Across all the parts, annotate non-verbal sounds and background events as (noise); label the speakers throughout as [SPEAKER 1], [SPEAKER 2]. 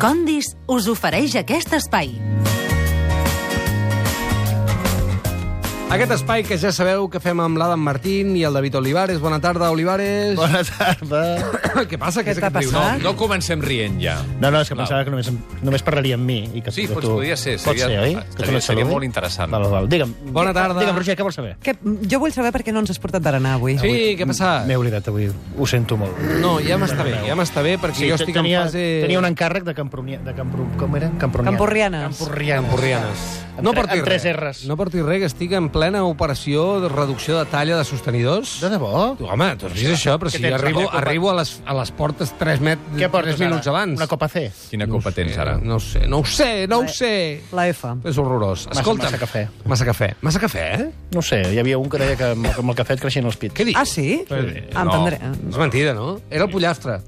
[SPEAKER 1] Condis us ofereix aquest espai.
[SPEAKER 2] Aquest espai que ja sabeu que fem amb l'Adam Martín i el David Olivares. Bona tarda, Olivares.
[SPEAKER 3] Bona tarda.
[SPEAKER 2] (coughs) Què passa?
[SPEAKER 4] Què
[SPEAKER 2] és
[SPEAKER 4] t'ha
[SPEAKER 2] aquest riu?
[SPEAKER 4] passat?
[SPEAKER 5] No comencem rient, ja.
[SPEAKER 3] No, no, és que
[SPEAKER 5] Val.
[SPEAKER 3] pensava que només, només parlaria amb mi. I que
[SPEAKER 5] Sí,
[SPEAKER 3] que
[SPEAKER 5] doncs podria ser,
[SPEAKER 3] Pot
[SPEAKER 5] seria-
[SPEAKER 3] ser, oi?
[SPEAKER 5] estaria-
[SPEAKER 3] tu no et
[SPEAKER 5] seria
[SPEAKER 3] saludi?
[SPEAKER 5] molt interessant.
[SPEAKER 3] Val, val, val. Digue'm,
[SPEAKER 2] Bona tarda.
[SPEAKER 3] Digue'm, Roger, què vols saber?
[SPEAKER 4] Que, jo vull saber per què no ens has portat berenar avui.
[SPEAKER 2] Sí, què ha passat?
[SPEAKER 3] M'he oblidat avui, ho sento molt.
[SPEAKER 2] No, ja m'està bé, ja m'està bé, perquè jo estic
[SPEAKER 3] tenia,
[SPEAKER 2] en fase...
[SPEAKER 3] tenia un encàrrec de Camprunia... De Campru, com era? Camprunianes.
[SPEAKER 4] Camporrianes.
[SPEAKER 3] Camporrianes.
[SPEAKER 2] Camporrianes.
[SPEAKER 3] Amb
[SPEAKER 2] No
[SPEAKER 3] tre-
[SPEAKER 2] portis
[SPEAKER 3] amb tres
[SPEAKER 2] res.
[SPEAKER 3] R's.
[SPEAKER 2] No portis res, que estic en plena operació de reducció de talla de sostenidors.
[SPEAKER 3] De debò?
[SPEAKER 2] Home, tu has vist això? Però si
[SPEAKER 3] Què tens,
[SPEAKER 2] arribo,
[SPEAKER 3] una copa?
[SPEAKER 2] arribo a, les, a les portes 3, met,
[SPEAKER 3] Què portes
[SPEAKER 2] 3 minuts
[SPEAKER 3] ara?
[SPEAKER 2] abans. Eh,
[SPEAKER 3] Una copa C?
[SPEAKER 5] Quina copa tens, ara?
[SPEAKER 2] No ho sé, no ho sé, no ho sé.
[SPEAKER 4] La F.
[SPEAKER 2] És horrorós.
[SPEAKER 3] Massa-
[SPEAKER 2] Escolta,
[SPEAKER 3] massa cafè.
[SPEAKER 2] Massa cafè. Massa cafè, eh?
[SPEAKER 3] No ho sé, hi havia un que deia que amb, amb el cafè et creixien els pits.
[SPEAKER 2] Què dius?
[SPEAKER 4] Ah, sí?
[SPEAKER 2] Sí.
[SPEAKER 4] Ah, entendré.
[SPEAKER 2] És mentida, no? Era el pollastre.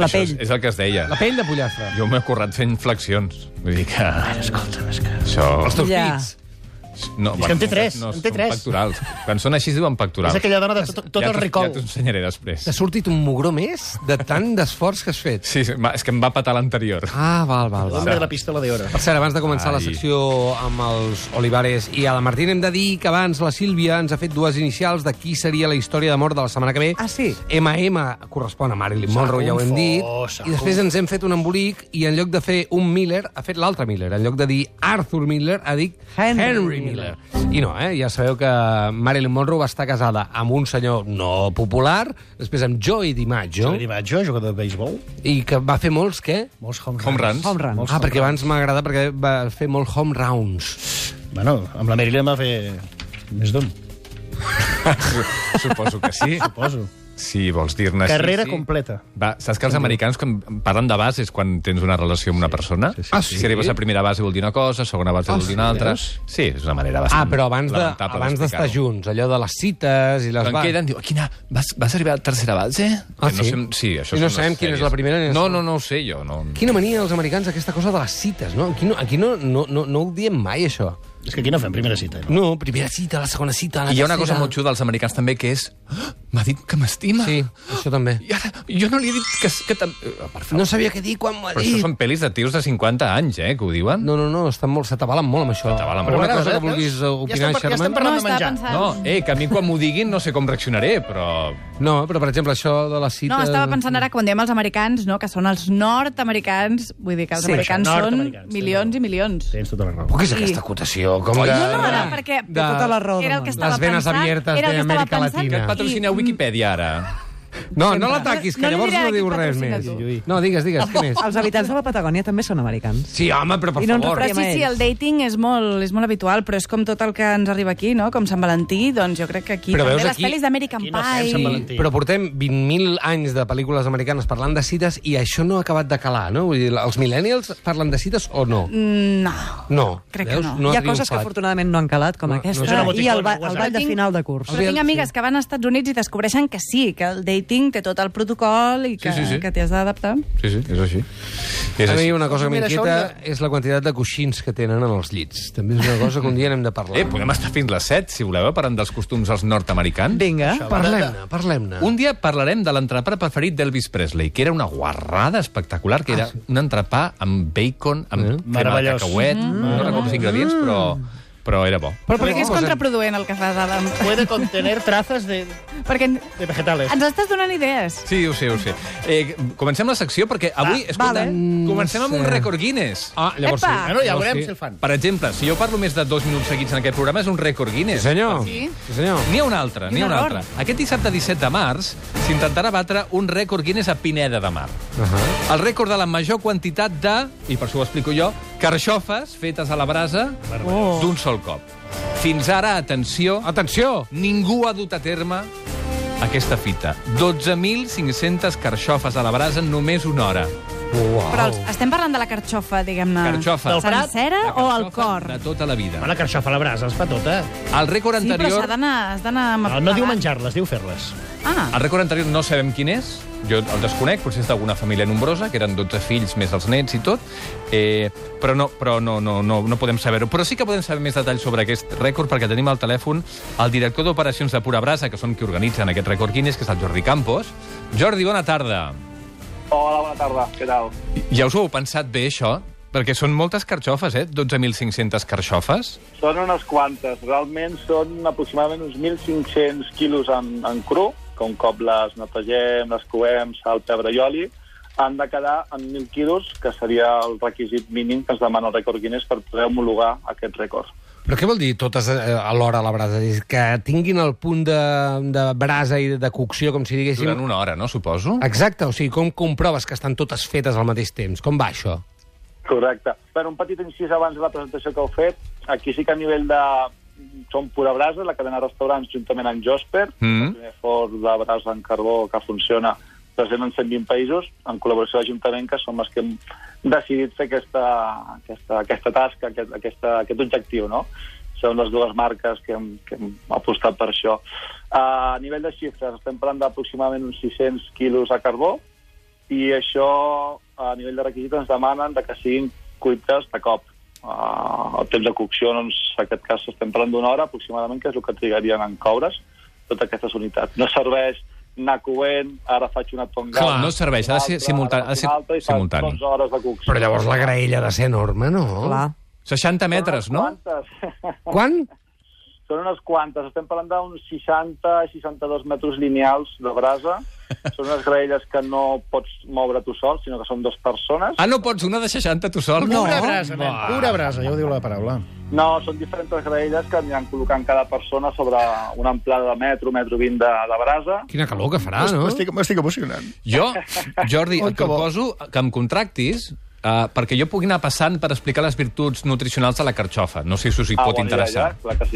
[SPEAKER 4] La
[SPEAKER 5] Això
[SPEAKER 4] pell.
[SPEAKER 5] és, és el que es deia.
[SPEAKER 2] La pell de pollastre.
[SPEAKER 5] Jo m'he currat fent flexions. Vull dir que...
[SPEAKER 3] Escolta, és que...
[SPEAKER 5] Això...
[SPEAKER 2] Els teus
[SPEAKER 4] Ja.
[SPEAKER 2] pits.
[SPEAKER 5] No,
[SPEAKER 3] que en té tres,
[SPEAKER 5] No,
[SPEAKER 3] en té
[SPEAKER 5] són
[SPEAKER 3] tres.
[SPEAKER 5] pectorals. Quan són així es diuen pectorals.
[SPEAKER 3] És aquella dona de tot, tot
[SPEAKER 5] ja
[SPEAKER 3] el
[SPEAKER 5] t'ho-
[SPEAKER 3] ricol.
[SPEAKER 5] Ja t'ho ensenyaré després.
[SPEAKER 2] T'ha sortit un mugró més de tant d'esforç que has fet.
[SPEAKER 5] Sí, sí, ma- és que em va patar l'anterior.
[SPEAKER 2] Ah, val, val, val.
[SPEAKER 3] L'home de la pistola de hora.
[SPEAKER 2] Per cert, abans de començar Ai. la
[SPEAKER 5] Ai.
[SPEAKER 2] secció amb els Olivares i a la Martín, hem de dir que abans la Sílvia ens ha fet dues inicials de qui seria la història de mort de la setmana que ve.
[SPEAKER 4] Ah, sí?
[SPEAKER 2] MM correspon a Marilyn Monroe, ja ho hem dit.
[SPEAKER 3] confós, s'ha
[SPEAKER 2] I després ens hem fet un embolic i en lloc de fer un Miller, ha fet l'altre Miller. En lloc de dir Arthur Miller, ha dit
[SPEAKER 4] Henry
[SPEAKER 2] Henry, Henry Miller. I no, eh? Ja sabeu que Marilyn Monroe va estar casada amb un senyor no popular, després amb Joey DiMaggio,
[SPEAKER 3] Joe DiMaggio, jugador de béisbol.
[SPEAKER 2] i que va fer molts, què?
[SPEAKER 3] Molts home runs.
[SPEAKER 5] Home runs.
[SPEAKER 4] Home runs.
[SPEAKER 3] Molts
[SPEAKER 2] Ah,
[SPEAKER 3] home
[SPEAKER 2] perquè
[SPEAKER 3] runs.
[SPEAKER 2] abans m'agrada perquè va fer molt home rounds.
[SPEAKER 3] Bueno, amb la Marilyn va fer més d'un,
[SPEAKER 5] Suposo que sí.
[SPEAKER 3] (laughs) suposo.
[SPEAKER 2] Ah,
[SPEAKER 5] Si vols dir-ne així,
[SPEAKER 3] Carrera
[SPEAKER 5] sí.
[SPEAKER 3] completa.
[SPEAKER 5] Va, saps que els americans quan parlen de bases quan tens una relació amb una persona? Sí, sí,
[SPEAKER 2] Ah, sí?
[SPEAKER 5] Si arribes a primera base vol dir una cosa, a segona
[SPEAKER 3] Ah,
[SPEAKER 5] base vol dir una altra.
[SPEAKER 3] veus?
[SPEAKER 5] Sí, és una manera bastant
[SPEAKER 2] Ah, però abans de-
[SPEAKER 5] lamentable
[SPEAKER 2] abans d'estar
[SPEAKER 5] d'explicar-ho.
[SPEAKER 2] junts, allò de les cites i les
[SPEAKER 5] Quan
[SPEAKER 2] bars.
[SPEAKER 5] queden, diu, quina, vas, vas arribar a la tercera base?
[SPEAKER 2] Ah,
[SPEAKER 5] Que no
[SPEAKER 2] sí?
[SPEAKER 5] sabem- sí,
[SPEAKER 2] I no
[SPEAKER 5] això són les
[SPEAKER 2] sabem quina és
[SPEAKER 5] sèries.
[SPEAKER 2] la primera ni la
[SPEAKER 5] No,
[SPEAKER 2] segona.
[SPEAKER 5] no, no ho sé jo. No.
[SPEAKER 2] Quina mania dels americans aquesta cosa de les cites, no? Aquí no, aquí no, no, no, no ho diem mai, això.
[SPEAKER 3] És que aquí no fem primera cita. eh? No?
[SPEAKER 2] No, primera cita, la segona cita, la
[SPEAKER 5] I Ah, hi ha una cosa
[SPEAKER 2] tercera.
[SPEAKER 5] molt xuda als americans també, que és... "Ah, M'ha dit que m'estima.
[SPEAKER 2] Sí, això també.
[SPEAKER 5] I ara, jo no li he dit que... que tam... Eh, Per favor.
[SPEAKER 2] No sabia què dir quan m'ho ha
[SPEAKER 5] Però això
[SPEAKER 2] dit.
[SPEAKER 5] són pel·lis de tios de 50 anys, eh, que ho diuen.
[SPEAKER 2] No, no, no, estan molt, s'atabalen molt amb això.
[SPEAKER 5] S'atabalen
[SPEAKER 2] Però
[SPEAKER 5] molt.
[SPEAKER 2] una cosa
[SPEAKER 3] Veus?
[SPEAKER 2] que vulguis eh,
[SPEAKER 3] ja
[SPEAKER 2] opinar,
[SPEAKER 3] estem, par- ja estem
[SPEAKER 2] Sherman?
[SPEAKER 3] parlant
[SPEAKER 6] No,
[SPEAKER 3] de
[SPEAKER 6] estava
[SPEAKER 3] menjar.
[SPEAKER 6] pensant...
[SPEAKER 5] No, eh, que a mi quan m'ho diguin no sé com reaccionaré, però...
[SPEAKER 2] No, però, per exemple, això de les cites...
[SPEAKER 6] No, estava pensant ara quan diem els americans, no? que són els nord-americans, vull dir que els
[SPEAKER 4] Sí,
[SPEAKER 6] americans
[SPEAKER 3] això,
[SPEAKER 6] són
[SPEAKER 3] nord-americans,
[SPEAKER 6] milions i milions.
[SPEAKER 3] Tens tota la raó.
[SPEAKER 2] Però què és aquesta acotació? Com que...
[SPEAKER 6] No, no, ara, perquè
[SPEAKER 2] De-
[SPEAKER 4] Tota la raó del
[SPEAKER 6] era el que
[SPEAKER 4] món.
[SPEAKER 6] estava
[SPEAKER 2] Les venes
[SPEAKER 6] pensant,
[SPEAKER 2] abiertes
[SPEAKER 6] era el que estava
[SPEAKER 2] d'Amèrica
[SPEAKER 6] pensant,
[SPEAKER 2] Latina.
[SPEAKER 5] Que et patrocina
[SPEAKER 6] i-
[SPEAKER 5] Wikipedia, ara.
[SPEAKER 2] No, no
[SPEAKER 4] Sempre.
[SPEAKER 2] l'ataquis, que
[SPEAKER 6] No li
[SPEAKER 2] llavors
[SPEAKER 6] diré
[SPEAKER 2] no
[SPEAKER 6] a
[SPEAKER 2] diu
[SPEAKER 6] qui
[SPEAKER 2] res
[SPEAKER 6] patrocina
[SPEAKER 2] més.
[SPEAKER 3] tu.
[SPEAKER 2] No, digues, digues, què més?
[SPEAKER 4] Els habitants de la Patagònia també són americans.
[SPEAKER 2] Sí, home, però per
[SPEAKER 4] I no ens
[SPEAKER 2] favor.
[SPEAKER 6] Però sí, sí, el dating és molt, és molt habitual, però és com tot el que ens arriba aquí, no? Com Sant Valentí, doncs jo crec que aquí
[SPEAKER 2] Però
[SPEAKER 6] també
[SPEAKER 2] veus
[SPEAKER 6] les
[SPEAKER 2] aquí-
[SPEAKER 6] pel·lis d'American
[SPEAKER 3] aquí no fem Sant
[SPEAKER 6] Pie...
[SPEAKER 3] Valentí.
[SPEAKER 2] Sí, però portem 20.000 anys de pel·lícules americanes parlant de cites i això no ha acabat de calar, no? Vull dir, els millennials parlen de cites o no?
[SPEAKER 6] No.
[SPEAKER 2] No.
[SPEAKER 6] Crec que no.
[SPEAKER 4] Hi ha coses que
[SPEAKER 2] triomfat.
[SPEAKER 4] afortunadament no han calat, com
[SPEAKER 2] No, no,
[SPEAKER 4] aquesta,
[SPEAKER 2] és una
[SPEAKER 4] i
[SPEAKER 3] boticona,
[SPEAKER 4] el, ba
[SPEAKER 3] WhatsApp.
[SPEAKER 4] el ball de
[SPEAKER 6] Tinc-
[SPEAKER 4] final de curs.
[SPEAKER 6] Però
[SPEAKER 2] Aviam,
[SPEAKER 6] tinc amigues
[SPEAKER 2] sí.
[SPEAKER 6] que van als Estats Units i descobreixen que sí, que el dating té tot el protocol i que,
[SPEAKER 5] sí, sí.
[SPEAKER 6] que t'hi has d'adaptar.
[SPEAKER 5] Sí, sí, és així. És
[SPEAKER 2] A mi
[SPEAKER 5] així.
[SPEAKER 2] una cosa que
[SPEAKER 3] Mira, això
[SPEAKER 2] m'inquieta
[SPEAKER 3] hauria
[SPEAKER 2] és la quantitat de coixins que tenen en els llits. També és una cosa que un dia n'hem de parlar.
[SPEAKER 5] Eh, podem estar fins les 7, si voleu, parlant dels costums als nord-americans.
[SPEAKER 4] Vinga.
[SPEAKER 2] Eh, Parlem-ne, parlem-ne.
[SPEAKER 5] Ah. Un dia parlarem de l'entrepà preferit d'Elvis Presley, que era una guarrada espectacular,
[SPEAKER 2] Ah,
[SPEAKER 5] que era un entrepà amb bacon,
[SPEAKER 2] Eh?
[SPEAKER 5] amb crema de
[SPEAKER 3] Meravellós. Mm-hmm.
[SPEAKER 5] cacauet, no recordo els ingredients, però, però era bo.
[SPEAKER 2] Però,
[SPEAKER 6] Perquè és
[SPEAKER 2] posem-
[SPEAKER 6] contraproduent el que fas, Adam.
[SPEAKER 3] Puede contener trazas de,
[SPEAKER 6] Perquè en-
[SPEAKER 3] de vegetales.
[SPEAKER 6] ens estàs donant idees.
[SPEAKER 5] Sí, ho sé, ho sé. Eh, comencem la secció perquè avui, ah, escolta,
[SPEAKER 2] vale.
[SPEAKER 5] comencem amb un
[SPEAKER 2] Sí.
[SPEAKER 5] rècord Guinness.
[SPEAKER 2] Ah, llavors
[SPEAKER 6] Epa!
[SPEAKER 2] sí.
[SPEAKER 3] Eh? Bueno, ja
[SPEAKER 2] Llavors
[SPEAKER 3] veurem
[SPEAKER 2] sí.
[SPEAKER 3] si el fan.
[SPEAKER 5] Per exemple, si jo parlo més de dos minuts seguits en aquest programa, és un rècord Guinness.
[SPEAKER 2] Sí, senyor.
[SPEAKER 6] Sí.
[SPEAKER 2] Sí, senyor.
[SPEAKER 5] N'hi ha un altre, n'hi ha un
[SPEAKER 6] error.
[SPEAKER 5] altre. Aquest dissabte 17 de març s'intentarà batre un rècord Guinness a Pineda de Mar.
[SPEAKER 2] Uh -huh.
[SPEAKER 5] El rècord de la major quantitat de, i per això ho explico jo, carxofes fetes a la brasa d'un sol cop. Fins ara, atenció,
[SPEAKER 2] Atenció!
[SPEAKER 5] ningú ha dut a terme aquesta fita. 12.500 carxofes a la brasa en només una hora.
[SPEAKER 2] Uau.
[SPEAKER 6] Però els, estem parlant de la carxofa, diguem-ne.
[SPEAKER 5] Carxofa. Del
[SPEAKER 3] prat?
[SPEAKER 6] Sencera o
[SPEAKER 5] La
[SPEAKER 6] el
[SPEAKER 5] carxofa
[SPEAKER 6] cor?
[SPEAKER 5] De tota la vida.
[SPEAKER 3] Home, la carxofa a la brasa, es fa tota.
[SPEAKER 5] El rècord
[SPEAKER 6] Sí, però
[SPEAKER 5] anterior...
[SPEAKER 6] s'ha d'anar... has d'anar amb-
[SPEAKER 3] No, no diu menjar-les, diu fer-les.
[SPEAKER 6] Ah,
[SPEAKER 5] El rècord anterior no sabem quin és, jo el desconec, potser és d'alguna família nombrosa, que eren 12 fills més els nets i tot, eh, però, no, però no, no, no, no podem saber-ho. Però sí que podem saber més detalls sobre aquest rècord perquè tenim al telèfon el director d'operacions de Pura Brasa, que són qui organitzen aquest rècord Guinness, que és el Jordi Campos. Jordi, bona tarda.
[SPEAKER 7] Hola, bona tarda. Què tal?
[SPEAKER 5] Ja us ho heu pensat bé, això? Perquè són moltes carxofes, eh? 12.500 carxofes.
[SPEAKER 7] Són unes quantes. Realment són aproximadament uns 1.500 quilos en, en cru, que un cop les netegem, les coem, sal, pebre i oli, han de quedar en 1.000 quilos, que seria el requisit mínim que ens demana el rècord Guinness per poder homologar aquest rècord.
[SPEAKER 2] Però què vol dir totes eh, alhora a la brasa? És que tinguin el punt de, de brasa i de cocció, com si diguéssim...
[SPEAKER 5] Durant una hora, no, suposo?
[SPEAKER 2] Exacte, o sigui, com comproves que estan totes fetes al mateix temps? Com va això?
[SPEAKER 7] Correcte. Per un petit incís abans de la presentació que heu fet, aquí sí que a nivell de... Som Pura Brasa, la cadena de restaurants, juntament amb Josper,
[SPEAKER 5] Mhm.
[SPEAKER 7] el primer forn de brasa en carbó que funciona present en 120 països, en col·laboració amb l'Ajuntament, que som els que hem decidit fer aquesta, aquesta, aquesta tasca, aquest, aquesta, aquest objectiu, no? Són les dues marques que hem, que hem apostat per això. Uh, a nivell de xifres, estem parlant d'aproximadament uns 600 quilos a carbó, i això a nivell de requisits ens demanen de que siguin cuites de cop. Uh, el temps de cocció, doncs, en aquest cas estem parlant d'una hora aproximadament, que és el que trigarien en coure's totes aquestes unitats. No serveix anar coent, ara faig una tongada...
[SPEAKER 5] Clar, no serveix, ha de ser simulta- ha de ser simultani.
[SPEAKER 7] simultani. 12 hores de cocció.
[SPEAKER 2] Però llavors la graella ha de ser enorme, no?
[SPEAKER 4] Clar.
[SPEAKER 5] 60 metres, no?
[SPEAKER 7] Quantes? (laughs)
[SPEAKER 2] Quan?
[SPEAKER 7] Són unes quantes, estem parlant d'uns 60 i 62 metres lineals de
[SPEAKER 5] (laughs)
[SPEAKER 7] brasa. Són unes graelles que no pots moure tu sol, sinó que són dues persones.
[SPEAKER 5] Ah, no pots una de 60 tu sol?
[SPEAKER 3] Pura brasa, nen, pura brasa, ja ho diu la paraula.
[SPEAKER 7] No, són diferents graelles que aniran col·locant cada persona sobre una amplada de metro, metro 20 de, de brasa.
[SPEAKER 2] Quina calor que farà, no?
[SPEAKER 3] M'estic m'estic emocionant.
[SPEAKER 5] Jo, Jordi,
[SPEAKER 3] Oh,
[SPEAKER 5] et
[SPEAKER 3] que bo.
[SPEAKER 5] proposo que em contractis Uh, perquè jo pugui anar passant per explicar les virtuts nutricionals de la carxofa. No sé si us hi pot
[SPEAKER 7] bona
[SPEAKER 5] interessar.
[SPEAKER 7] idea, clar que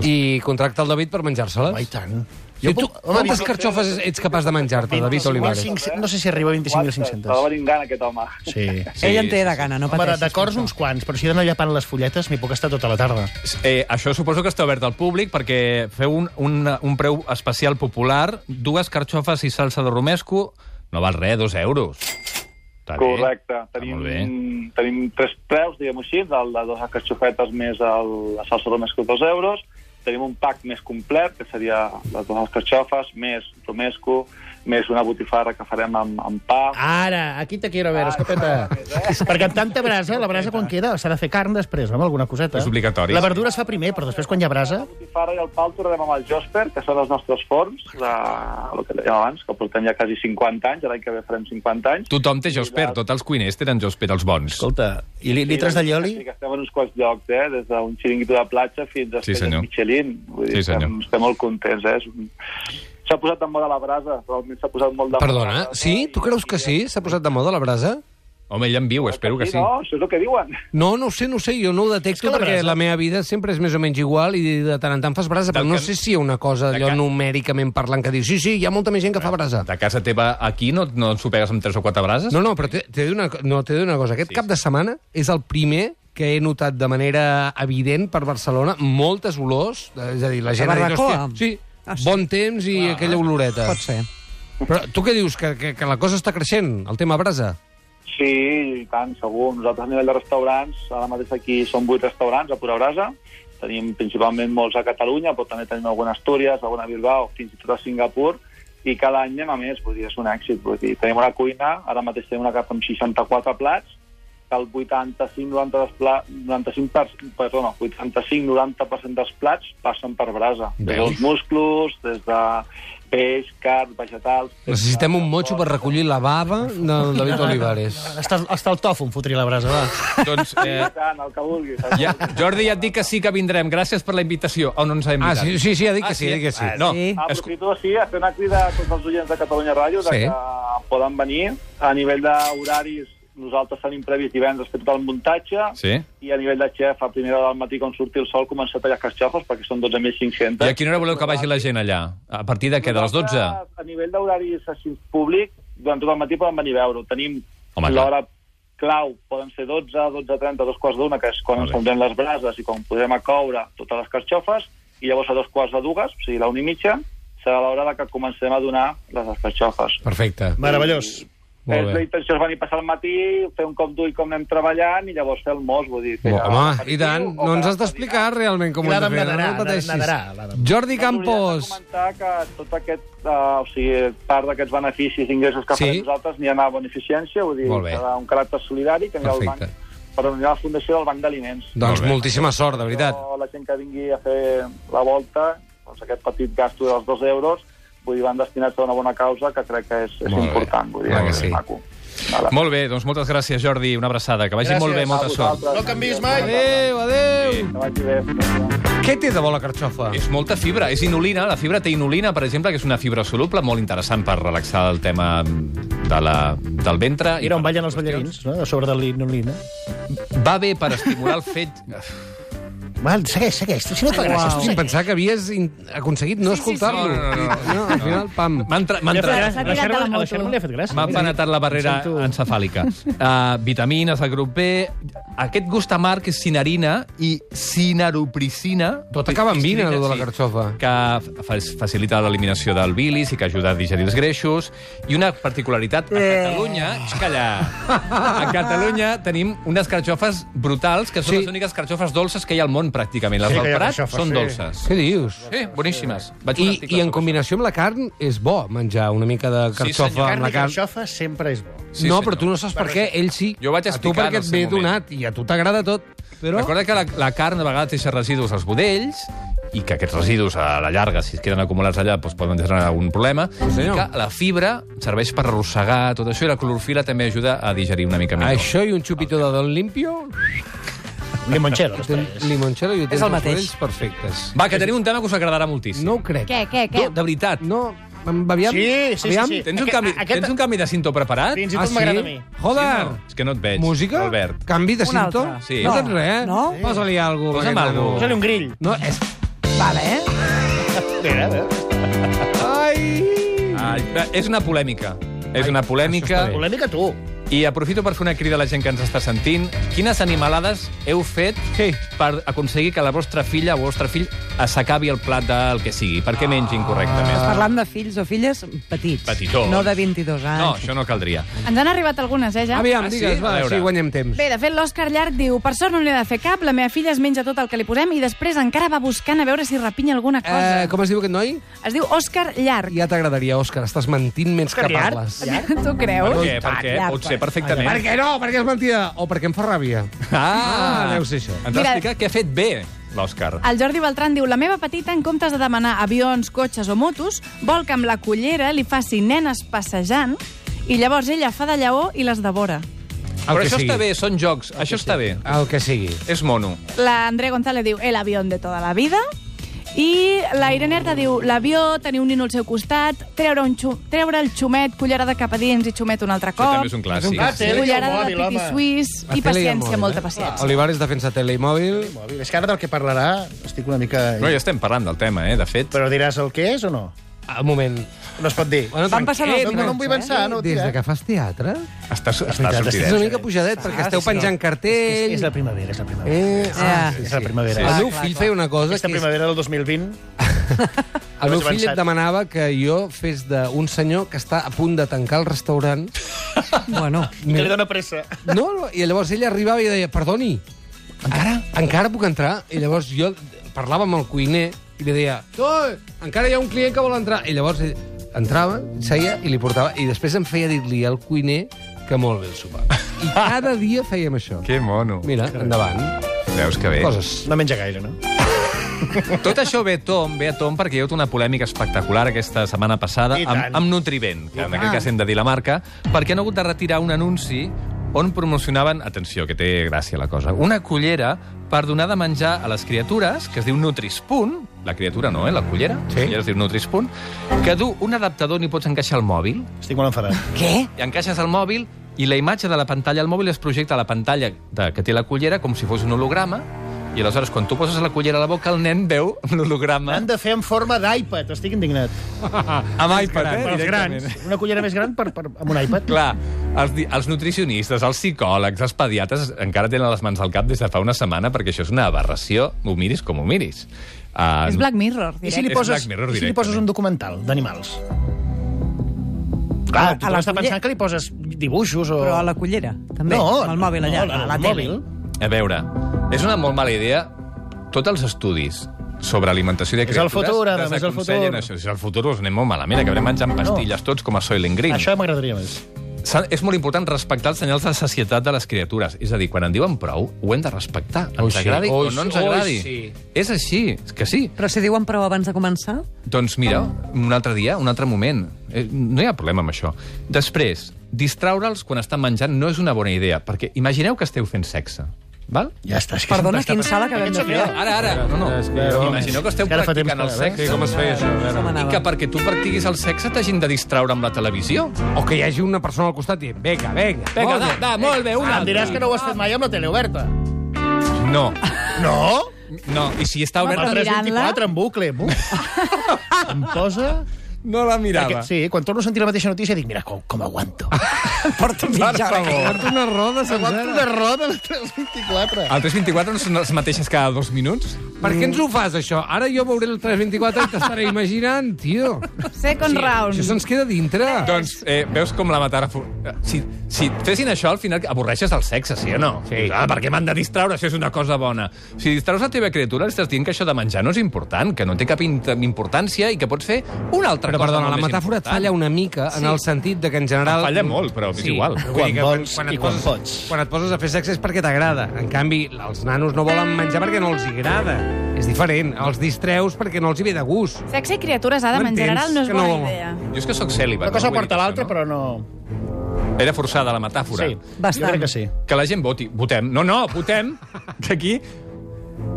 [SPEAKER 7] sí.
[SPEAKER 2] I contracta el David per menjar-se-les?
[SPEAKER 3] Home, i tant.
[SPEAKER 2] Si tu,
[SPEAKER 3] puc- home,
[SPEAKER 2] quantes carxofes ets capaç de menjar-te, David Olivares?
[SPEAKER 3] 2500, no sé si arriba a
[SPEAKER 7] S'ha de
[SPEAKER 3] 25.500.
[SPEAKER 7] venir gana, aquest home.
[SPEAKER 3] Sí.
[SPEAKER 5] Sí,
[SPEAKER 4] Ell en té de gana, no
[SPEAKER 3] Home, de-
[SPEAKER 4] pateixis.
[SPEAKER 3] de cors uns quants, però si he d'anar llapant les fulletes m'hi puc estar tota la tarda.
[SPEAKER 5] Eh, això suposo que està obert al públic perquè feu un, un, un preu especial popular, dues carxofes i salsa de romesco, no val res, dos euros. Està bé.
[SPEAKER 7] Correcte.
[SPEAKER 5] molt bé.
[SPEAKER 7] Tenim, tenim tres preus, diguem-ho així, del de dues carxofetes més el, la salsa romesco dos euros. Tenim un pack més complet, que seria les dues carxofes, més romesco, més una botifarra que farem amb, amb pa.
[SPEAKER 3] Ara, aquí te quiero ver, escopeta. Perquè amb tanta brasa, la brasa quan queda s'ha de fer carn després, amb alguna coseta.
[SPEAKER 5] És obligatori.
[SPEAKER 3] La verdura es fa primer, però després quan hi ha brasa...
[SPEAKER 7] La botifarra i el pal tornarem amb el Josper, que són els nostres forns, de, el que dèiem abans, que portem ja quasi 50 anys, l'any que ve farem 50 anys.
[SPEAKER 5] Tothom té Josper, tots els cuiners tenen Josper, els bons.
[SPEAKER 3] Escolta, i li- litres de lloli?
[SPEAKER 7] Sí, que estem en uns quants llocs, eh? Des d'un xiringuito de platja fins a
[SPEAKER 5] Sí,
[SPEAKER 7] Estrelles
[SPEAKER 5] senyor.
[SPEAKER 7] Michelin. Vull
[SPEAKER 5] Sí,
[SPEAKER 7] dir, estem,
[SPEAKER 5] senyor.
[SPEAKER 7] estem molt contents, eh? És un- S'ha posat de moda la brasa, realment s'ha posat molt de moda.
[SPEAKER 2] Perdona, sí? Tu creus que sí? S'ha posat de moda la brasa?
[SPEAKER 5] Home, ell en viu, espero que sí.
[SPEAKER 7] Doncs No, això és el que diuen.
[SPEAKER 2] No, no ho sé, no ho sé, jo no ho
[SPEAKER 3] És que
[SPEAKER 2] detecto
[SPEAKER 3] la
[SPEAKER 2] perquè
[SPEAKER 3] brasa-
[SPEAKER 2] la meva vida sempre és més o menys igual i de tant en tant fas brasa, però
[SPEAKER 5] Del
[SPEAKER 2] no
[SPEAKER 5] que-
[SPEAKER 2] sé si hi ha una cosa
[SPEAKER 5] de
[SPEAKER 2] allò
[SPEAKER 5] que-
[SPEAKER 2] numèricament parlant que dius sí, sí, hi ha molta més gent que fa brasa.
[SPEAKER 5] De casa teva aquí no, no ens ho pegues amb tres o quatre brases?
[SPEAKER 2] No, no, però t'he t'he de dir una, co- no, t'he de dir una cosa. Aquest sí. cap de setmana és el primer que he notat de manera evident per Barcelona moltes olors, eh, és a dir, la gent... ha dit,
[SPEAKER 4] barbacoa?
[SPEAKER 2] "Hòstia, Sí,
[SPEAKER 4] Ah, sí. eh?
[SPEAKER 2] bon temps i aquella oloreta.
[SPEAKER 4] Pot ser.
[SPEAKER 2] Però tu què dius? Que, que, que la cosa està creixent, el tema brasa?
[SPEAKER 7] Sí, i tant, segur. Nosaltres a nivell de restaurants, ara mateix aquí són vuit restaurants a Pura Brasa. Tenim principalment molts a Catalunya, però també tenim alguna a Astúries, alguna a Bilbao, fins i tot a Singapur, i cada any anem a més, vull dir, és un èxit. Vull dir, tenim una cuina, ara mateix tenim una carta amb 64 plats, que el 85-90% dels pla- 95 per- perdona, 85-90% dels plats passen per brasa. Des
[SPEAKER 2] Veus?
[SPEAKER 7] dels musclos, des de peix, carn, vegetals...
[SPEAKER 2] Necessitem un motxo per recollir la bava del David Olivares.
[SPEAKER 3] Hasta, hasta el tofu em fotria la brasa, va.
[SPEAKER 5] Doncs,
[SPEAKER 7] Eh...
[SPEAKER 5] eh,
[SPEAKER 7] Tant, el que vulguis. El que
[SPEAKER 5] ja,
[SPEAKER 7] vulguis.
[SPEAKER 5] Jordi, ja et dic que sí que vindrem. Gràcies per la invitació. Oh, no ens ha
[SPEAKER 2] Ah,
[SPEAKER 5] invitat. Ah,
[SPEAKER 2] sí, sí, sí, ha dit que sí, ha dit que sí.
[SPEAKER 5] No,
[SPEAKER 4] Sí.
[SPEAKER 7] Ah,
[SPEAKER 5] escu-
[SPEAKER 7] Aprofito, sí, a fer una crida a tots els oients de Catalunya Ràdio de
[SPEAKER 2] Sí.
[SPEAKER 7] que poden venir. A nivell d'horaris, nosaltres tenim previst divendres fer tot el muntatge
[SPEAKER 5] Sí.
[SPEAKER 7] i a nivell de xef, a primera hora del matí, quan surti el sol, començar a tallar carxofes, perquè són 12.500.
[SPEAKER 5] I a quina hora voleu que vagi la gent allà? A partir de què? De les 12?
[SPEAKER 7] Nosaltres, A nivell d'horaris així públic, durant tot el matí poden venir a veure-ho. Tenim
[SPEAKER 5] Home,
[SPEAKER 7] l'hora clau, poden ser 12, 12.30, dos quarts d'una, que és quan
[SPEAKER 5] Molt
[SPEAKER 7] ens
[SPEAKER 5] bé.
[SPEAKER 7] prendrem les brases i quan podrem a coure totes les carxofes, i llavors a dos quarts de dues, o sigui, la una i mitja, serà l'hora de que comencem a donar les carxofes.
[SPEAKER 2] Perfecte.
[SPEAKER 3] Meravellós.
[SPEAKER 2] Molt
[SPEAKER 7] és
[SPEAKER 2] bé.
[SPEAKER 7] la intenció és venir a passar el matí, fer un cop d'ull com anem treballant i llavors fer el mos, vull dir... que
[SPEAKER 2] Bo,
[SPEAKER 7] ja-
[SPEAKER 2] home, i tant.
[SPEAKER 7] o
[SPEAKER 2] No ens
[SPEAKER 7] que-
[SPEAKER 2] has d'explicar realment com ho hem de
[SPEAKER 3] L'Adam
[SPEAKER 2] fer.
[SPEAKER 3] nedarà,
[SPEAKER 2] no, no pateixis.
[SPEAKER 3] nedarà, l'Adam.
[SPEAKER 2] Jordi Campos.
[SPEAKER 7] Volia comentar que tot aquest, uh, o sigui, part d'aquests beneficis i ingressos que
[SPEAKER 2] Sí.
[SPEAKER 7] sí. farem nosaltres n'hi anava a beneficència, vull dir,
[SPEAKER 5] Molt bé.
[SPEAKER 7] serà un caràcter solidari que anirà al
[SPEAKER 5] Perfecte.
[SPEAKER 7] banc, però anirà a la Fundació del Banc d'Aliments.
[SPEAKER 2] Doncs
[SPEAKER 5] Molt bé.
[SPEAKER 2] moltíssima sort, de veritat.
[SPEAKER 7] Però la gent que vingui a fer la volta, doncs aquest petit gasto dels dos euros, vull dir, van destinats a una bona causa que crec que és, és
[SPEAKER 5] Molt bé.
[SPEAKER 7] important, vull dir,
[SPEAKER 5] Clar que
[SPEAKER 7] és
[SPEAKER 5] sí.
[SPEAKER 7] maco. Vale.
[SPEAKER 5] Molt bé, doncs moltes gràcies, Jordi. Una abraçada. Que vagi
[SPEAKER 3] Gràcies.
[SPEAKER 5] molt bé, molta
[SPEAKER 7] A
[SPEAKER 5] sort.
[SPEAKER 7] vosaltres.
[SPEAKER 3] No canviïs mai.
[SPEAKER 2] Adéu, adéu.
[SPEAKER 7] Que vagi bé.
[SPEAKER 2] Què té de bo la carxofa?
[SPEAKER 5] És molta fibra, és inulina. La fibra té inulina, per exemple, que és una fibra soluble molt interessant per relaxar el tema de la, del ventre.
[SPEAKER 3] Mira on
[SPEAKER 5] per-
[SPEAKER 3] ballen els ballarins, no? a sobre de l'inulina.
[SPEAKER 5] Va bé per estimular el fet...
[SPEAKER 3] Val, segueix, segueix. Si no fa gràcia, tu
[SPEAKER 2] Sin
[SPEAKER 3] segueix.
[SPEAKER 2] pensar que havies in- aconseguit no escoltar-lo.
[SPEAKER 5] No, no, no.
[SPEAKER 2] no, al final, pam.
[SPEAKER 5] M'ha entra- m'ha
[SPEAKER 3] Li ha fet
[SPEAKER 5] entrat...
[SPEAKER 3] gràcia.
[SPEAKER 6] S'ha tirat de la
[SPEAKER 3] A la
[SPEAKER 6] moto.
[SPEAKER 3] Sherman li ha fet gràcia.
[SPEAKER 5] M'ha
[SPEAKER 3] Mira.
[SPEAKER 5] penetrat la barrera
[SPEAKER 3] Em sento-
[SPEAKER 5] encefàlica. Uh, vitamines, el grup B... Aquest gust amarg és cinarina i sinaropricina...
[SPEAKER 2] Tot acaba amb vina, allò de la
[SPEAKER 5] Sí.
[SPEAKER 2] carxofa.
[SPEAKER 5] que fa facilita l'eliminació del bilis i que ajuda a digerir els greixos. I una particularitat, a
[SPEAKER 3] Eh.
[SPEAKER 5] Catalunya... Xx, Calla! A Catalunya tenim unes carxofes brutals, que són
[SPEAKER 2] Sí.
[SPEAKER 5] les úniques carxofes dolces que hi ha al món, pràcticament. Les
[SPEAKER 3] Sí que hi
[SPEAKER 5] del
[SPEAKER 3] ha
[SPEAKER 5] Prat
[SPEAKER 3] carxofes,
[SPEAKER 5] són
[SPEAKER 3] sí.
[SPEAKER 5] dolces.
[SPEAKER 2] Què dius?
[SPEAKER 5] Sí, boníssimes. Vaig
[SPEAKER 2] I, I en combinació amb la carn és bo menjar una mica de carxofa
[SPEAKER 5] senyor.
[SPEAKER 2] amb
[SPEAKER 3] Carn
[SPEAKER 2] la
[SPEAKER 3] i
[SPEAKER 2] carn.
[SPEAKER 3] carxofa sempre és bo.
[SPEAKER 5] Sí,
[SPEAKER 2] no,
[SPEAKER 5] senyor.
[SPEAKER 2] però tu no saps per què, ell sí.
[SPEAKER 5] Jo vaig
[SPEAKER 2] a tu
[SPEAKER 5] explicar en
[SPEAKER 2] perquè
[SPEAKER 5] el
[SPEAKER 2] et
[SPEAKER 5] seu
[SPEAKER 2] ve
[SPEAKER 5] moment.
[SPEAKER 2] donat i a tu t'agrada tot. Però...
[SPEAKER 5] Recorda que la, la carn a vegades deixa residus als budells i que aquests residus a la llarga, si es queden acumulats allà, doncs poden generar algun problema. I
[SPEAKER 2] senyor.
[SPEAKER 5] que la fibra serveix per arrossegar tot això i la clorofila també ajuda a digerir una mica millor.
[SPEAKER 2] Això i un xupito de Don Limpio,
[SPEAKER 3] Limoncello, les
[SPEAKER 2] ten-
[SPEAKER 3] tres.
[SPEAKER 2] limoncello i ho tens
[SPEAKER 4] el
[SPEAKER 2] els
[SPEAKER 4] mateix.
[SPEAKER 2] orells perfectes.
[SPEAKER 5] Va, que tenim un tema que us agradarà moltíssim.
[SPEAKER 2] No ho crec.
[SPEAKER 6] Què, què, què?
[SPEAKER 5] No, de veritat. No.
[SPEAKER 2] No, em- aviam...
[SPEAKER 3] Sí, sí, sí,
[SPEAKER 2] aviam.
[SPEAKER 3] sí.
[SPEAKER 5] Tens, un
[SPEAKER 3] Aquest-
[SPEAKER 5] canvi,
[SPEAKER 3] aquest-
[SPEAKER 5] tens un canvi de cinto preparat?
[SPEAKER 3] Fins i
[SPEAKER 2] Ah,
[SPEAKER 3] tot
[SPEAKER 2] sí?
[SPEAKER 3] m'agrada a mi.
[SPEAKER 2] Joder!
[SPEAKER 5] Sí, no. És que no et veig,
[SPEAKER 2] Música?
[SPEAKER 5] Albert.
[SPEAKER 2] Canvi de
[SPEAKER 4] Un
[SPEAKER 2] cinto?
[SPEAKER 4] altre.
[SPEAKER 5] Sí.
[SPEAKER 2] No
[SPEAKER 5] No.
[SPEAKER 2] tens res, eh?
[SPEAKER 4] No.
[SPEAKER 2] Posa-li alguna cosa.
[SPEAKER 5] Posa'm
[SPEAKER 2] aquest
[SPEAKER 5] algo.
[SPEAKER 2] nano.
[SPEAKER 3] Posa-li un grill.
[SPEAKER 2] No, és...
[SPEAKER 4] Vale, eh?
[SPEAKER 2] Ai!
[SPEAKER 5] Ai, va, és una polèmica. És una polèmica.
[SPEAKER 3] Polèmica tu.
[SPEAKER 5] I aprofito per fer una crida a la gent que ens està sentint. Quines animalades heu fet sí. per aconseguir que la vostra filla o vostre fill s'acabi el plat del que sigui? Perquè mengi
[SPEAKER 2] Ah.
[SPEAKER 5] incorrectament.
[SPEAKER 4] Ah. Parlant de fills o filles petits.
[SPEAKER 5] Petitons.
[SPEAKER 4] No de 22 anys.
[SPEAKER 5] No, això no caldria.
[SPEAKER 6] Ens han arribat algunes, eh, ja?
[SPEAKER 2] Aviam,
[SPEAKER 5] Ah, sí?
[SPEAKER 2] digues, va,
[SPEAKER 5] A veure.
[SPEAKER 2] així guanyem temps. Eh,
[SPEAKER 6] Bé, de fet, l'Òscar Llarg diu per sort no li ha de fer cap, la meva filla es menja tot el que li posem i després encara va buscant a veure si rapinya alguna cosa.
[SPEAKER 2] Eh, com es diu aquest noi?
[SPEAKER 6] Es diu Òscar Llarg.
[SPEAKER 2] Ja t'agradaria, Òscar, estàs mentint menys que
[SPEAKER 3] Òscar Llarg?
[SPEAKER 2] parles.
[SPEAKER 6] (laughs) Tu creus?
[SPEAKER 5] Per què? Per què?
[SPEAKER 6] Llarg,
[SPEAKER 5] Pot ser
[SPEAKER 2] Per
[SPEAKER 5] perfectament.
[SPEAKER 2] què no? Perquè és mentida. O perquè em fa ràbia. Ah, deu ser això.
[SPEAKER 5] Ens
[SPEAKER 6] Mira-
[SPEAKER 5] va explicar què ha fet bé l'Òscar.
[SPEAKER 2] Ah.
[SPEAKER 6] El Jordi Beltran diu, la meva petita, en comptes de demanar avions, cotxes o motos, vol que amb la cullera li faci nenes passejant i llavors ella fa de lleó i les devora.
[SPEAKER 5] Però
[SPEAKER 2] que
[SPEAKER 5] això
[SPEAKER 2] sigui.
[SPEAKER 5] està bé, són jocs. Això està bé.
[SPEAKER 2] El que sigui.
[SPEAKER 5] Ah. És mono.
[SPEAKER 6] L'André González diu, el avión de tota la vida. I la Irene Erta diu, l'avió, tenir un nino al seu costat, treure, un xu treure el xumet, cullerada cap a dins i xumet un altre
[SPEAKER 5] Això
[SPEAKER 6] cop.
[SPEAKER 5] també és un
[SPEAKER 2] És
[SPEAKER 5] clàssic.
[SPEAKER 2] un clàssic.
[SPEAKER 3] Tele i el
[SPEAKER 6] Cullerada
[SPEAKER 3] mòbil,
[SPEAKER 6] de pipi
[SPEAKER 3] home.
[SPEAKER 6] suís
[SPEAKER 2] La tele
[SPEAKER 6] i
[SPEAKER 2] el
[SPEAKER 6] paciència,
[SPEAKER 2] mòbil,
[SPEAKER 6] molta
[SPEAKER 2] eh?
[SPEAKER 6] paciència.
[SPEAKER 2] Olivares defensa tele i mòbil.
[SPEAKER 3] Mòbil. És que ara del que parlarà estic una mica...
[SPEAKER 5] No, ja estem parlant del tema, eh, de fet.
[SPEAKER 3] Però diràs el que és o no?
[SPEAKER 2] Ah, Un moment.
[SPEAKER 3] No es pot dir.
[SPEAKER 2] Bueno, Eh,
[SPEAKER 4] Van passant
[SPEAKER 2] tranquil,
[SPEAKER 4] els
[SPEAKER 3] No, no, no em vull pensar, no,
[SPEAKER 2] Des
[SPEAKER 3] tira.
[SPEAKER 2] de que fas teatre,
[SPEAKER 5] Estàs, estàs
[SPEAKER 3] veritat,
[SPEAKER 2] és
[SPEAKER 5] sortidet.
[SPEAKER 2] una mica pujadet, perquè esteu penjant
[SPEAKER 3] És,
[SPEAKER 2] cartell...
[SPEAKER 3] és la primavera, és la primavera.
[SPEAKER 2] Eh, ah, sí,
[SPEAKER 3] És
[SPEAKER 2] sí.
[SPEAKER 3] la primavera.
[SPEAKER 2] El
[SPEAKER 3] Ah,
[SPEAKER 2] meu fill feia una cosa...
[SPEAKER 3] Aquesta
[SPEAKER 2] que és-
[SPEAKER 3] primavera del 2020...
[SPEAKER 2] El meu
[SPEAKER 3] Més
[SPEAKER 2] fill
[SPEAKER 3] avançat.
[SPEAKER 2] et demanava que jo fes d'un senyor que està a punt de tancar el restaurant.
[SPEAKER 4] Bueno,
[SPEAKER 3] Que li dóna pressa.
[SPEAKER 2] No, no, i llavors ell arribava i deia, perdoni, encara, encara puc entrar? I llavors jo parlava amb el cuiner i li deia, no, encara hi ha un client que vol entrar. I llavors ell entrava, seia i li portava, i després em feia dir-li al cuiner que molt bé el sopar. I cada dia fèiem això.
[SPEAKER 5] Que mono.
[SPEAKER 2] Mira, endavant.
[SPEAKER 5] Veus que bé.
[SPEAKER 2] Coses.
[SPEAKER 3] No menja gaire, no?
[SPEAKER 5] Tot això ve a Tom, ve a Tom perquè hi ha hagut una polèmica espectacular aquesta setmana passada
[SPEAKER 3] I tant.
[SPEAKER 5] amb, amb Nutrivent, que en aquest cas hem de dir la marca, perquè han hagut de retirar un anunci on promocionaven, atenció, que té gràcia la cosa, una cullera per donar de menjar a les criatures, que es diu Nutrispunt, la criatura no, eh, la cullera,
[SPEAKER 2] Sí.
[SPEAKER 5] la cullera es diu Nutrispunt, que du un adaptador on hi pots encaixar el mòbil,
[SPEAKER 3] Estic molt enfadat.
[SPEAKER 4] què?
[SPEAKER 5] i encaixes el mòbil i la imatge de la pantalla al mòbil es projecta a la pantalla de, que té la cullera com si fos un holograma i aleshores quan tu poses la cullera a la boca el nen veu l'holograma
[SPEAKER 3] L'han de fer en forma d'iPad, estic indignat.
[SPEAKER 5] amb iPad, eh?
[SPEAKER 3] Per als
[SPEAKER 5] directament.
[SPEAKER 3] grans. Una cullera més gran per, per, amb un iPad.
[SPEAKER 5] Clar, els, di- els nutricionistes, els psicòlegs, els pediatres encara tenen les mans al cap des de fa una setmana perquè això és una aberració, ho miris com ho miris. Uh,
[SPEAKER 6] És Black Mirror,
[SPEAKER 3] I si li
[SPEAKER 5] És
[SPEAKER 6] directe.
[SPEAKER 5] Black
[SPEAKER 3] poses,
[SPEAKER 5] Mirror
[SPEAKER 3] i si li
[SPEAKER 5] directament.
[SPEAKER 3] poses un documental d'animals? Clar,
[SPEAKER 4] A- a
[SPEAKER 3] tothom està
[SPEAKER 4] la culler-
[SPEAKER 3] Ah, pensant que li poses dibuixos o...
[SPEAKER 4] Però a la cullera, també.
[SPEAKER 3] No,
[SPEAKER 4] amb el mòbil allà,
[SPEAKER 3] no,
[SPEAKER 4] a la
[SPEAKER 3] el
[SPEAKER 4] tele.
[SPEAKER 3] mòbil.
[SPEAKER 5] A veure, és una molt mala idea. Tots els estudis sobre alimentació de
[SPEAKER 3] És el
[SPEAKER 5] criatures...
[SPEAKER 3] futur, Adam, és el
[SPEAKER 5] desaconsellen
[SPEAKER 3] futur.
[SPEAKER 5] Això. Si és el futur, us anem molt malament. Acabarem menjant pastilles tots com a Soylent Green.
[SPEAKER 3] Això m'agradaria més.
[SPEAKER 5] S'ha- És molt important respectar els senyals de societat de les criatures. És a dir, quan en diuen prou, ho hem de respectar.
[SPEAKER 2] Oi,
[SPEAKER 5] Ens
[SPEAKER 2] sí.
[SPEAKER 5] agradi
[SPEAKER 2] Oi,
[SPEAKER 5] o no ens
[SPEAKER 2] sí. Oi,
[SPEAKER 5] agradi.
[SPEAKER 2] sí.
[SPEAKER 5] És així, és que sí.
[SPEAKER 4] Però si diuen prou abans de començar...
[SPEAKER 5] Doncs mira, un altre dia, un altre moment. Eh, No hi ha problema amb això. Després, distraure'ls quan estan menjant no és una bona idea, perquè imagineu que esteu fent sexe, val?
[SPEAKER 3] Ja està. És que
[SPEAKER 4] Perdona,
[SPEAKER 3] està-
[SPEAKER 4] quin sala que vam de fer.
[SPEAKER 5] Ara, ara, no, no.
[SPEAKER 2] És que jo-
[SPEAKER 5] Imagineu que esteu
[SPEAKER 3] És que ara fa
[SPEAKER 5] practicant el
[SPEAKER 3] temps que-
[SPEAKER 5] sexe
[SPEAKER 2] Sí, com es feia això? A veure.
[SPEAKER 4] Com
[SPEAKER 5] i
[SPEAKER 4] anava?
[SPEAKER 5] que perquè tu practiquis el sexe t'hagin de distraure amb la televisió.
[SPEAKER 2] O que hi hagi una persona al costat dient, vinga, vinga.
[SPEAKER 5] Vinga,
[SPEAKER 2] molt
[SPEAKER 5] va,
[SPEAKER 2] bé.
[SPEAKER 5] va, molt bé, una
[SPEAKER 3] Em
[SPEAKER 5] altra.
[SPEAKER 3] diràs que no ho has fet mai amb la tele oberta.
[SPEAKER 5] No,
[SPEAKER 3] No?
[SPEAKER 5] no, i si està
[SPEAKER 3] A
[SPEAKER 5] oberta...
[SPEAKER 6] Home,
[SPEAKER 3] 324, en bucle. Buf. em posa...
[SPEAKER 5] No la mirava.
[SPEAKER 3] Aquest, sí, quan torno a sentir la mateixa notícia dic, mira, com, com aguanto.
[SPEAKER 4] Porta mitja hora.
[SPEAKER 2] Porta una roda
[SPEAKER 3] Aguanto
[SPEAKER 2] sencera.
[SPEAKER 3] una roda a la 324.
[SPEAKER 5] El 324 no són les mateixes cada dos minuts?
[SPEAKER 2] Per què ens ho fas, això? Ara jo veuré el 324 i t'estaré imaginant, tio.
[SPEAKER 5] (laughs)
[SPEAKER 6] Second round.
[SPEAKER 2] Això se'ns queda dintre.
[SPEAKER 5] Doncs eh, veus com la metàfora... eh, Si, si fessin això, al final avorreixes el sexe, sí o no? Sí. Ah, per què m'han de distraure? Això és una cosa bona. Si distraus la teva criatura, li estàs dient que això de menjar no és important, que no té cap int- importància i que pots fer una altra
[SPEAKER 2] Però,
[SPEAKER 5] cosa
[SPEAKER 2] perdona, la
[SPEAKER 5] molt més
[SPEAKER 2] metàfora et
[SPEAKER 5] important.
[SPEAKER 2] falla una mica en el sentit de que en general...
[SPEAKER 5] Em falla molt, però és igual.
[SPEAKER 2] però
[SPEAKER 3] Quan
[SPEAKER 2] vull dir
[SPEAKER 3] vols
[SPEAKER 2] et
[SPEAKER 3] i quan
[SPEAKER 2] poses-
[SPEAKER 3] pots.
[SPEAKER 2] Quan et poses a fer sexe és perquè t'agrada. En canvi, els nanos no volen menjar perquè no els hi agrada. És diferent. Els distreus perquè no els hi ve de gust.
[SPEAKER 6] Sexe i criatures, Adam,
[SPEAKER 2] No
[SPEAKER 6] en general no és
[SPEAKER 2] entens que
[SPEAKER 6] bona
[SPEAKER 2] no-
[SPEAKER 6] idea.
[SPEAKER 5] Jo és que sóc cèl·liba.
[SPEAKER 3] Una cosa
[SPEAKER 5] no? Vull
[SPEAKER 3] porta
[SPEAKER 5] dir
[SPEAKER 3] l'altra,
[SPEAKER 5] això,
[SPEAKER 3] però no...
[SPEAKER 5] no? Era forçada, la metàfora.
[SPEAKER 3] Sí,
[SPEAKER 4] Bastant.
[SPEAKER 3] jo crec que sí.
[SPEAKER 5] Que la gent voti. Votem. No, no, votem, que aquí...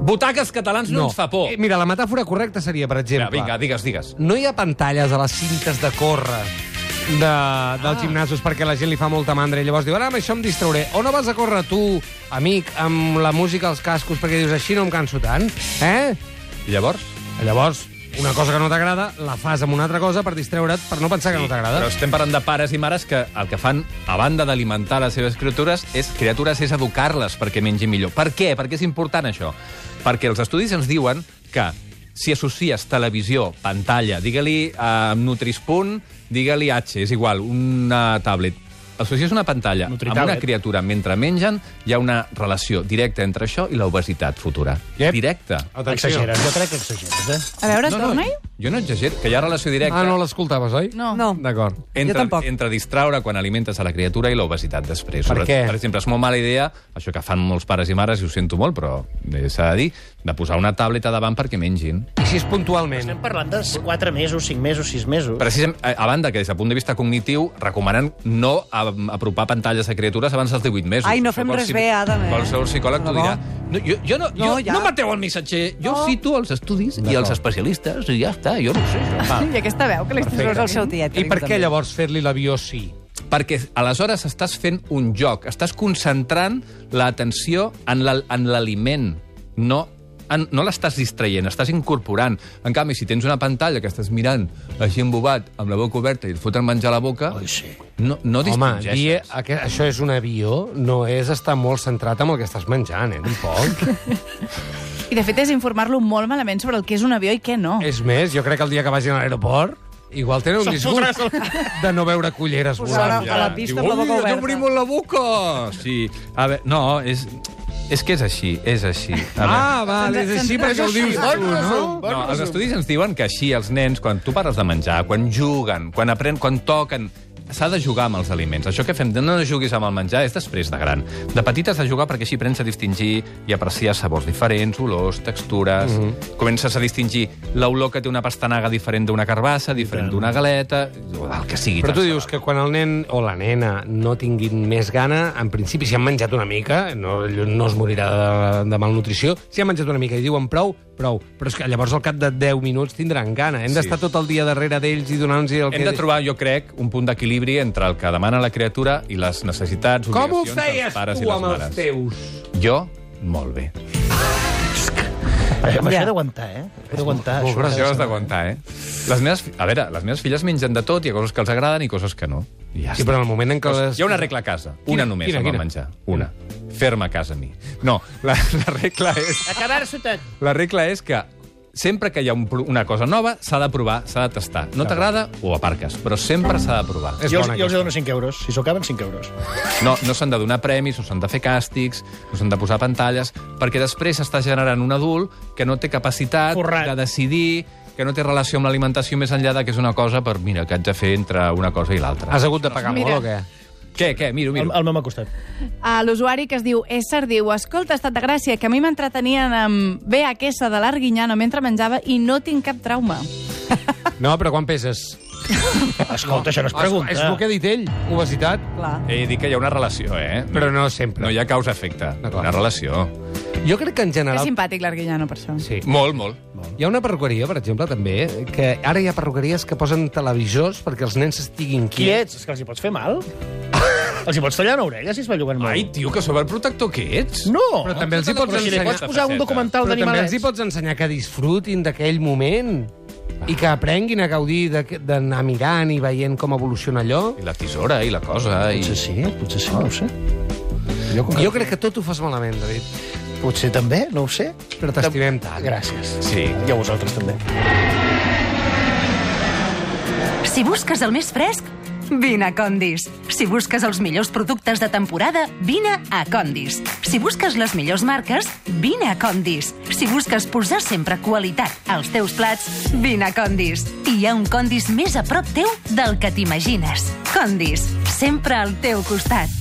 [SPEAKER 5] Votar que els catalans no, ens fa por.
[SPEAKER 2] Eh, mira, la metàfora correcta seria, per exemple...
[SPEAKER 5] Vinga, vinga, digues, digues.
[SPEAKER 2] no hi ha pantalles a les cintes de córrer de, dels gimnasos perquè la gent li fa molta mandra i llavors diu, ara amb això em distrauré. O no vas a córrer tu, amic, amb la música als cascos perquè dius, així no em canso tant, eh?
[SPEAKER 5] I llavors?
[SPEAKER 2] Llavors, una cosa que no t'agrada, la fas amb una altra cosa per distreure't, per no pensar que no
[SPEAKER 5] Però
[SPEAKER 2] t'agrada.
[SPEAKER 5] estem parlant de pares i mares que el que fan, a banda d'alimentar les seves criatures, és criatures és educar-les perquè mengin millor. Per què? Per què és important això? Perquè els estudis ens diuen que si associes televisió, pantalla, digue-li eh, Nutrispunt, digue-li H, és igual, una tablet, associes una pantalla amb
[SPEAKER 3] Nutritablet.
[SPEAKER 5] una criatura mentre mengen, hi ha una relació directa entre això i l'obesitat futura.
[SPEAKER 2] Ep.
[SPEAKER 5] Directa.
[SPEAKER 3] Exageres, jo crec que exageres, eh?
[SPEAKER 6] A veure,
[SPEAKER 5] No, no,
[SPEAKER 6] torna-hi?
[SPEAKER 5] jo no exagero, que hi ha relació directa
[SPEAKER 2] Ah, no l'escoltaves, oi?
[SPEAKER 6] No.
[SPEAKER 4] No.
[SPEAKER 2] D'acord.
[SPEAKER 5] entre,
[SPEAKER 4] Jo tampoc.
[SPEAKER 5] Entre distraure quan alimentes a la criatura i l'obesitat després.
[SPEAKER 2] Per
[SPEAKER 5] Sobre-
[SPEAKER 2] què?
[SPEAKER 5] Per exemple, és molt mala idea, això que fan molts pares i mares, i ho sento molt, però eh, s'ha de dir, de posar una tableta davant perquè mengin.
[SPEAKER 2] I si és puntualment?
[SPEAKER 3] Estem parlant de 4 mesos, 5 mesos, 6 mesos.
[SPEAKER 5] Precisament, a a banda que des del punt de vista cognitiu recomanen no a- apropar pantalles a criatures abans dels 18 mesos.
[SPEAKER 4] Ai, no
[SPEAKER 5] Això
[SPEAKER 4] fem res
[SPEAKER 5] qualsi-
[SPEAKER 4] bé, Adam, eh?
[SPEAKER 5] Qualsevol psicòleg t'ho
[SPEAKER 4] De
[SPEAKER 5] dirà.
[SPEAKER 4] debò.
[SPEAKER 5] No, jo, jo no,
[SPEAKER 4] No,
[SPEAKER 5] no, jo,
[SPEAKER 4] ja.
[SPEAKER 5] no mateu el missatger, jo cito els estudis i els especialistes i ja està, jo no ho sé. això.
[SPEAKER 6] (laughs) I aquesta veu que li estàs
[SPEAKER 4] Veus
[SPEAKER 6] veus
[SPEAKER 4] el seu tiet.
[SPEAKER 2] I per què llavors fer-li l'avió sí?
[SPEAKER 5] perquè aleshores estàs fent un joc, estàs concentrant l'atenció en l'al- en l'aliment, no en, no l'estàs distraient, estàs incorporant. En canvi, si tens una pantalla que estàs mirant així embobat, amb la boca oberta, i et foten menjar a la boca,
[SPEAKER 3] Ai, sí.
[SPEAKER 5] no, no
[SPEAKER 2] Home,
[SPEAKER 5] distingeixes.
[SPEAKER 2] dir, aqu- això és un avió, no és estar molt centrat amb el que estàs menjant, eh?
[SPEAKER 5] (laughs)
[SPEAKER 2] Tampoc.
[SPEAKER 6] I de fet és informar-lo molt malament sobre el que és un avió i què no.
[SPEAKER 2] És més, jo crec que el dia que vagin a l'aeroport igual tenen un disgust de no veure culleres
[SPEAKER 4] Posar-la
[SPEAKER 2] volant.
[SPEAKER 4] a la pista amb la boca
[SPEAKER 5] "Ui,
[SPEAKER 4] oberta.
[SPEAKER 5] ja obrim la boca! Sí, a veure, no, és, és que és així, és així. A veure.
[SPEAKER 2] Ah, val, és així perquè ho dius tu, no?
[SPEAKER 5] No, els estudis ens diuen que així els nens, quan tu pares de menjar, quan juguen, quan aprenen, quan toquen, s'ha de jugar amb els aliments. Això que fem de no juguis amb el menjar és després de gran. De petit has de jugar perquè així aprens a distingir i apreciar sabors diferents, olors, textures... Mm
[SPEAKER 2] Mhm.
[SPEAKER 5] -hmm. Comences a distingir l'olor que té una pastanaga diferent d'una carbassa, diferent d'una galeta, o del que sigui.
[SPEAKER 2] Però tu
[SPEAKER 5] tant se
[SPEAKER 2] dius
[SPEAKER 5] val.
[SPEAKER 2] que quan el nen o la nena no tinguin més gana, en principi, si han menjat una mica, no, no es morirà de, de malnutrició, si han menjat una mica i diuen prou, prou. Però és que llavors al cap de 10 minuts tindran gana. Hem
[SPEAKER 5] Sí.
[SPEAKER 2] d'estar tot el dia darrere d'ells i donar-los el
[SPEAKER 5] Hem
[SPEAKER 2] que...
[SPEAKER 5] de trobar, jo crec, un punt d'equilibri entre el que demana la criatura i les necessitats,
[SPEAKER 2] Com ho
[SPEAKER 5] obligacions dels
[SPEAKER 2] feies
[SPEAKER 5] pares i
[SPEAKER 2] tu
[SPEAKER 5] les
[SPEAKER 2] amb
[SPEAKER 5] mares.
[SPEAKER 2] els teus?
[SPEAKER 5] Jo, molt bé.
[SPEAKER 3] Eh, amb
[SPEAKER 4] Ja.
[SPEAKER 3] Això he d'aguantar, eh? He d'aguantar.
[SPEAKER 2] molt
[SPEAKER 3] això.
[SPEAKER 2] gros.
[SPEAKER 5] Això ho has d'aguantar, eh? Les meves, fi- a veure, les meves filles mengen de tot, hi ha coses que els agraden i coses que no. I ja
[SPEAKER 2] Sí, però en el moment en què...
[SPEAKER 5] Coses...
[SPEAKER 2] Les...
[SPEAKER 5] Hi ha una regla a casa,
[SPEAKER 2] Quina,
[SPEAKER 5] una només,
[SPEAKER 2] quina,
[SPEAKER 5] amb el
[SPEAKER 2] quina?
[SPEAKER 5] menjar. Una. Fer-me a casa a mi. No, la, (laughs) la regla és...
[SPEAKER 3] Acabar-s'ho tot.
[SPEAKER 5] La regla és que sempre que hi ha un, pro- una cosa nova, s'ha de provar, s'ha de tastar. No t'agrada, ho aparques, però sempre s'ha de provar.
[SPEAKER 2] És
[SPEAKER 3] Jo, els,
[SPEAKER 2] bona
[SPEAKER 3] jo els
[SPEAKER 2] aquesta.
[SPEAKER 3] dono 5 euros. Si s'ho acaben, 5 euros.
[SPEAKER 5] No, no s'han de donar premis, no s'han de fer càstigs, no s'han de posar pantalles, perquè després s'està generant un adult que no té capacitat
[SPEAKER 3] Forrat.
[SPEAKER 5] de decidir, que no té relació amb l'alimentació més enllà de que és una cosa per, mira, que haig de fer entre una cosa i l'altra.
[SPEAKER 2] Has hagut de pagar
[SPEAKER 6] Mira.
[SPEAKER 2] molt o què?
[SPEAKER 5] Què, què? Miro,
[SPEAKER 3] El,
[SPEAKER 5] miro.
[SPEAKER 3] el meu m'ha costat.
[SPEAKER 6] A l'usuari que es diu Esser diu Escolta, estat de gràcia, que a mi m'entretenien amb BHS de l'Arguinyano mentre menjava i no tinc cap trauma.
[SPEAKER 2] No, però quan peses?
[SPEAKER 3] Escolta, això no
[SPEAKER 2] És el
[SPEAKER 3] es
[SPEAKER 2] que
[SPEAKER 3] pregunta.
[SPEAKER 2] ha dit ell, obesitat,
[SPEAKER 4] Clar.
[SPEAKER 5] He dit que hi ha una relació, eh?
[SPEAKER 2] però no sempre.
[SPEAKER 5] No hi ha causa-efecte.
[SPEAKER 2] D'acord.
[SPEAKER 5] Una relació.
[SPEAKER 2] Jo crec que en
[SPEAKER 6] Que
[SPEAKER 2] general...
[SPEAKER 6] simpàtic l'Arguinyano, per això.
[SPEAKER 2] Sí.
[SPEAKER 5] Molt, molt.
[SPEAKER 2] Hi ha una perruqueria, per exemple, també, que ara hi ha perruqueries que posen televisors perquè els nens estiguin
[SPEAKER 3] Qui
[SPEAKER 2] quiets.
[SPEAKER 3] ets? És que els hi pots fer mal? els hi pots tallar una orella si es belluguen molt?
[SPEAKER 5] Ai, tio, que sobreprotector que ets.
[SPEAKER 3] No!
[SPEAKER 2] Però també els hi pots
[SPEAKER 3] Però si li
[SPEAKER 2] ensenyar...
[SPEAKER 3] pots posar un
[SPEAKER 5] Faceta.
[SPEAKER 3] documental
[SPEAKER 2] Però també els
[SPEAKER 3] d'animalets...
[SPEAKER 2] hi pots ensenyar que disfrutin d'aquell moment i que aprenguin a gaudir de- d'anar mirant i veient com evoluciona allò.
[SPEAKER 5] I la tisora, i la cosa, i...
[SPEAKER 3] Potser sí, potser sí, no ho sé. Jo, com que...
[SPEAKER 2] Jo crec que tot ho fas malament, David.
[SPEAKER 3] Potser també, no ho sé.
[SPEAKER 2] Però t'estimem tant.
[SPEAKER 3] Gràcies.
[SPEAKER 5] Sí.
[SPEAKER 3] I a vosaltres també.
[SPEAKER 1] Si busques el més fresc, vine a Condis. Si busques els millors productes de temporada, vine a Condis. Si busques les millors marques, vine a Condis. Si busques posar sempre qualitat als teus plats, vine a Condis. I hi ha un Condis més a prop teu del que t'imagines. Condis, sempre al teu costat.